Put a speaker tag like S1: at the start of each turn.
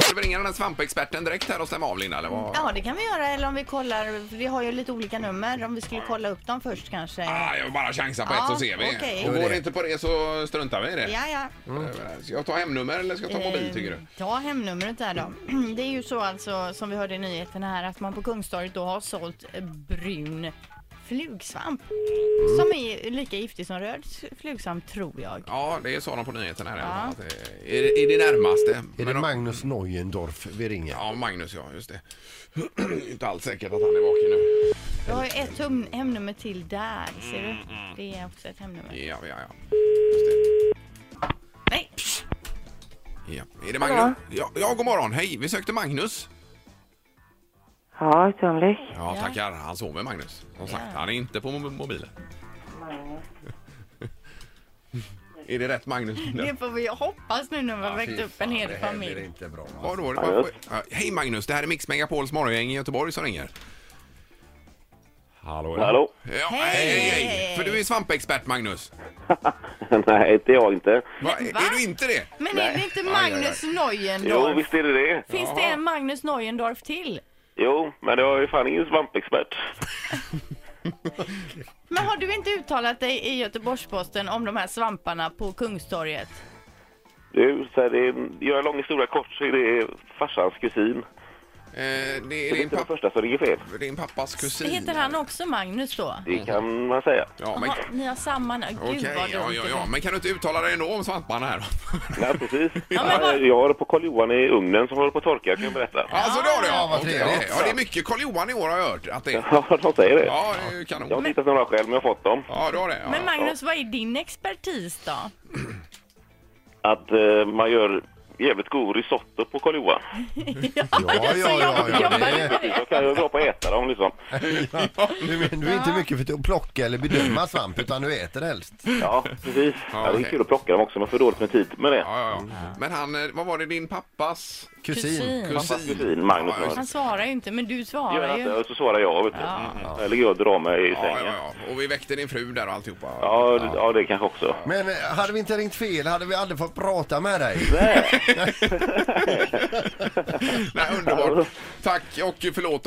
S1: Ska vi ringa den här svampexperten direkt här och stämma av Linda? Eller vad?
S2: Ja, det kan vi göra. Eller om vi kollar. Vi har ju lite olika nummer. Om vi skulle kolla upp dem först kanske.
S1: Ah, jag vill bara chansa på
S2: Ja,
S1: ett så ser vi.
S2: okej.
S1: Och går det inte på det så struntar vi i det.
S2: Ja, ja.
S1: Eh, Ska jag ta hemnummer eller ska jag ta mobil tycker du?
S2: Eh, Ta hemnumret där då. Det är ju så alltså, som vi hörde i nyheterna här, att man på Kungstorget då har sålt eh, brun flugsvamp. Som är lika giftig som röd flugsvamp, tror jag.
S1: Ja, det sa de på nyheterna här i alla fall. att det- Är det, är det närmaste?
S3: Är det
S1: Men de-
S3: Magnus Neuendorf vi ringer?
S1: Ja, Magnus ja, just det. inte alls säkert att han är vaken nu.
S2: Jag har ju ett hum- hemnummer till där, ser du? Det är också ett hemnummer.
S1: Ja, ja, ja. Just
S2: Nej!
S1: det. Ja. Är det Magnus? Ja, ja, god morgon. Hej, vi sökte Magnus.
S4: Ja, ett ögonblick.
S1: Ja, tackar. Han sover Magnus. Som sagt, han är inte på mo- mobilen. är det rätt Magnus?
S2: Det får vi hoppas nu när vi har
S3: Fy
S2: väckt upp en
S3: fan,
S2: hel
S3: det här blir
S2: familj.
S3: inte bra.
S1: Ja, då, är det
S4: Hallå?
S1: Ja, hej Magnus, det här är Mix Megapols morgongäng i Göteborg som ringer. Hallå? ja.
S4: Hallå?
S1: Ja, hej,
S2: Hej!
S1: hej, hej! För du är svampexpert Magnus.
S4: Nej, det är jag inte.
S1: Va, Är du inte det?
S2: Men är det inte Magnus
S4: Jo,
S2: Neuendorf?
S4: visst är det det.
S2: Finns det en Magnus Neuendorf till?
S4: Jo, men jag är ju fan ingen svampexpert.
S2: Men har du inte uttalat dig i Göteborgs-Posten om de här svamparna på Kungstorget?
S4: Du, så här, det är, gör jag lång historia kort så är det farsans kusin.
S1: Eh, det
S4: Det
S1: är
S4: är
S1: din,
S4: inte den
S1: papp,
S4: första som ringer fel.
S1: din pappas kusin.
S2: Heter han också Magnus då?
S4: Det kan man säga.
S1: Ja, men...
S2: Jaha, ni har samma namn. Gud
S1: Okej,
S2: vad
S1: ja,
S2: dumt
S1: ja,
S2: det
S1: ja.
S2: blev.
S1: Men kan du inte uttala dig ändå om svamparna här?
S4: Ja, precis.
S2: Ja, men vad-
S4: Jag- Jag har på Karl-Johan i ugnen som håller på att torka, kan jag berätta.
S1: Alltså det har du
S3: Ja, vad
S1: Okej,
S3: trevligt.
S1: Ja, det är mycket Karl-Johan i år har jag hört att det är.
S4: Ja, de säger det.
S1: Ja, det är ju kanon.
S4: Jag har tittat några själv, men jag har fått dem.
S1: Ja, du har det. Ja.
S2: Men Magnus, vad är din expertis då?
S4: Att eh, man gör jävligt god risotto på Karl-Johan.
S3: Ja, ja, ja, ja,
S2: jobbar
S3: det
S2: med
S3: är-
S4: Jag kan ju bra på att äta dem, liksom.
S3: ja. Du, men, du är inte mycket för att plocka eller bedöma svamp utan du äter helst.
S4: Ja, precis.
S1: Ja,
S4: Ja, det är
S1: okej.
S4: kul att plocka dem också, men för dåligt med tid med det.
S1: Ja, ja, ja.
S4: Mm.
S1: Men han, eh, vad var det, din pappas
S3: Kusin.
S1: kusin?
S4: Kusin, Magnus.
S1: Ja, just
S2: Han svarar ju inte, men du
S4: Gör
S2: svarar
S4: jag inte
S2: ju.
S4: och så svarar jag. Vet du. Mm. Eller ligger jag och drar mig i
S1: Ja,
S4: sängen.
S1: ja, ja. Och vi väckte din fru där och alltihopa.
S4: Ja, det- ja, det kanske också.
S3: Men eh, hade vi inte ringt fel hade vi aldrig fått prata med dig.
S4: Nej,
S1: Nej, underbart. Tack och förlåt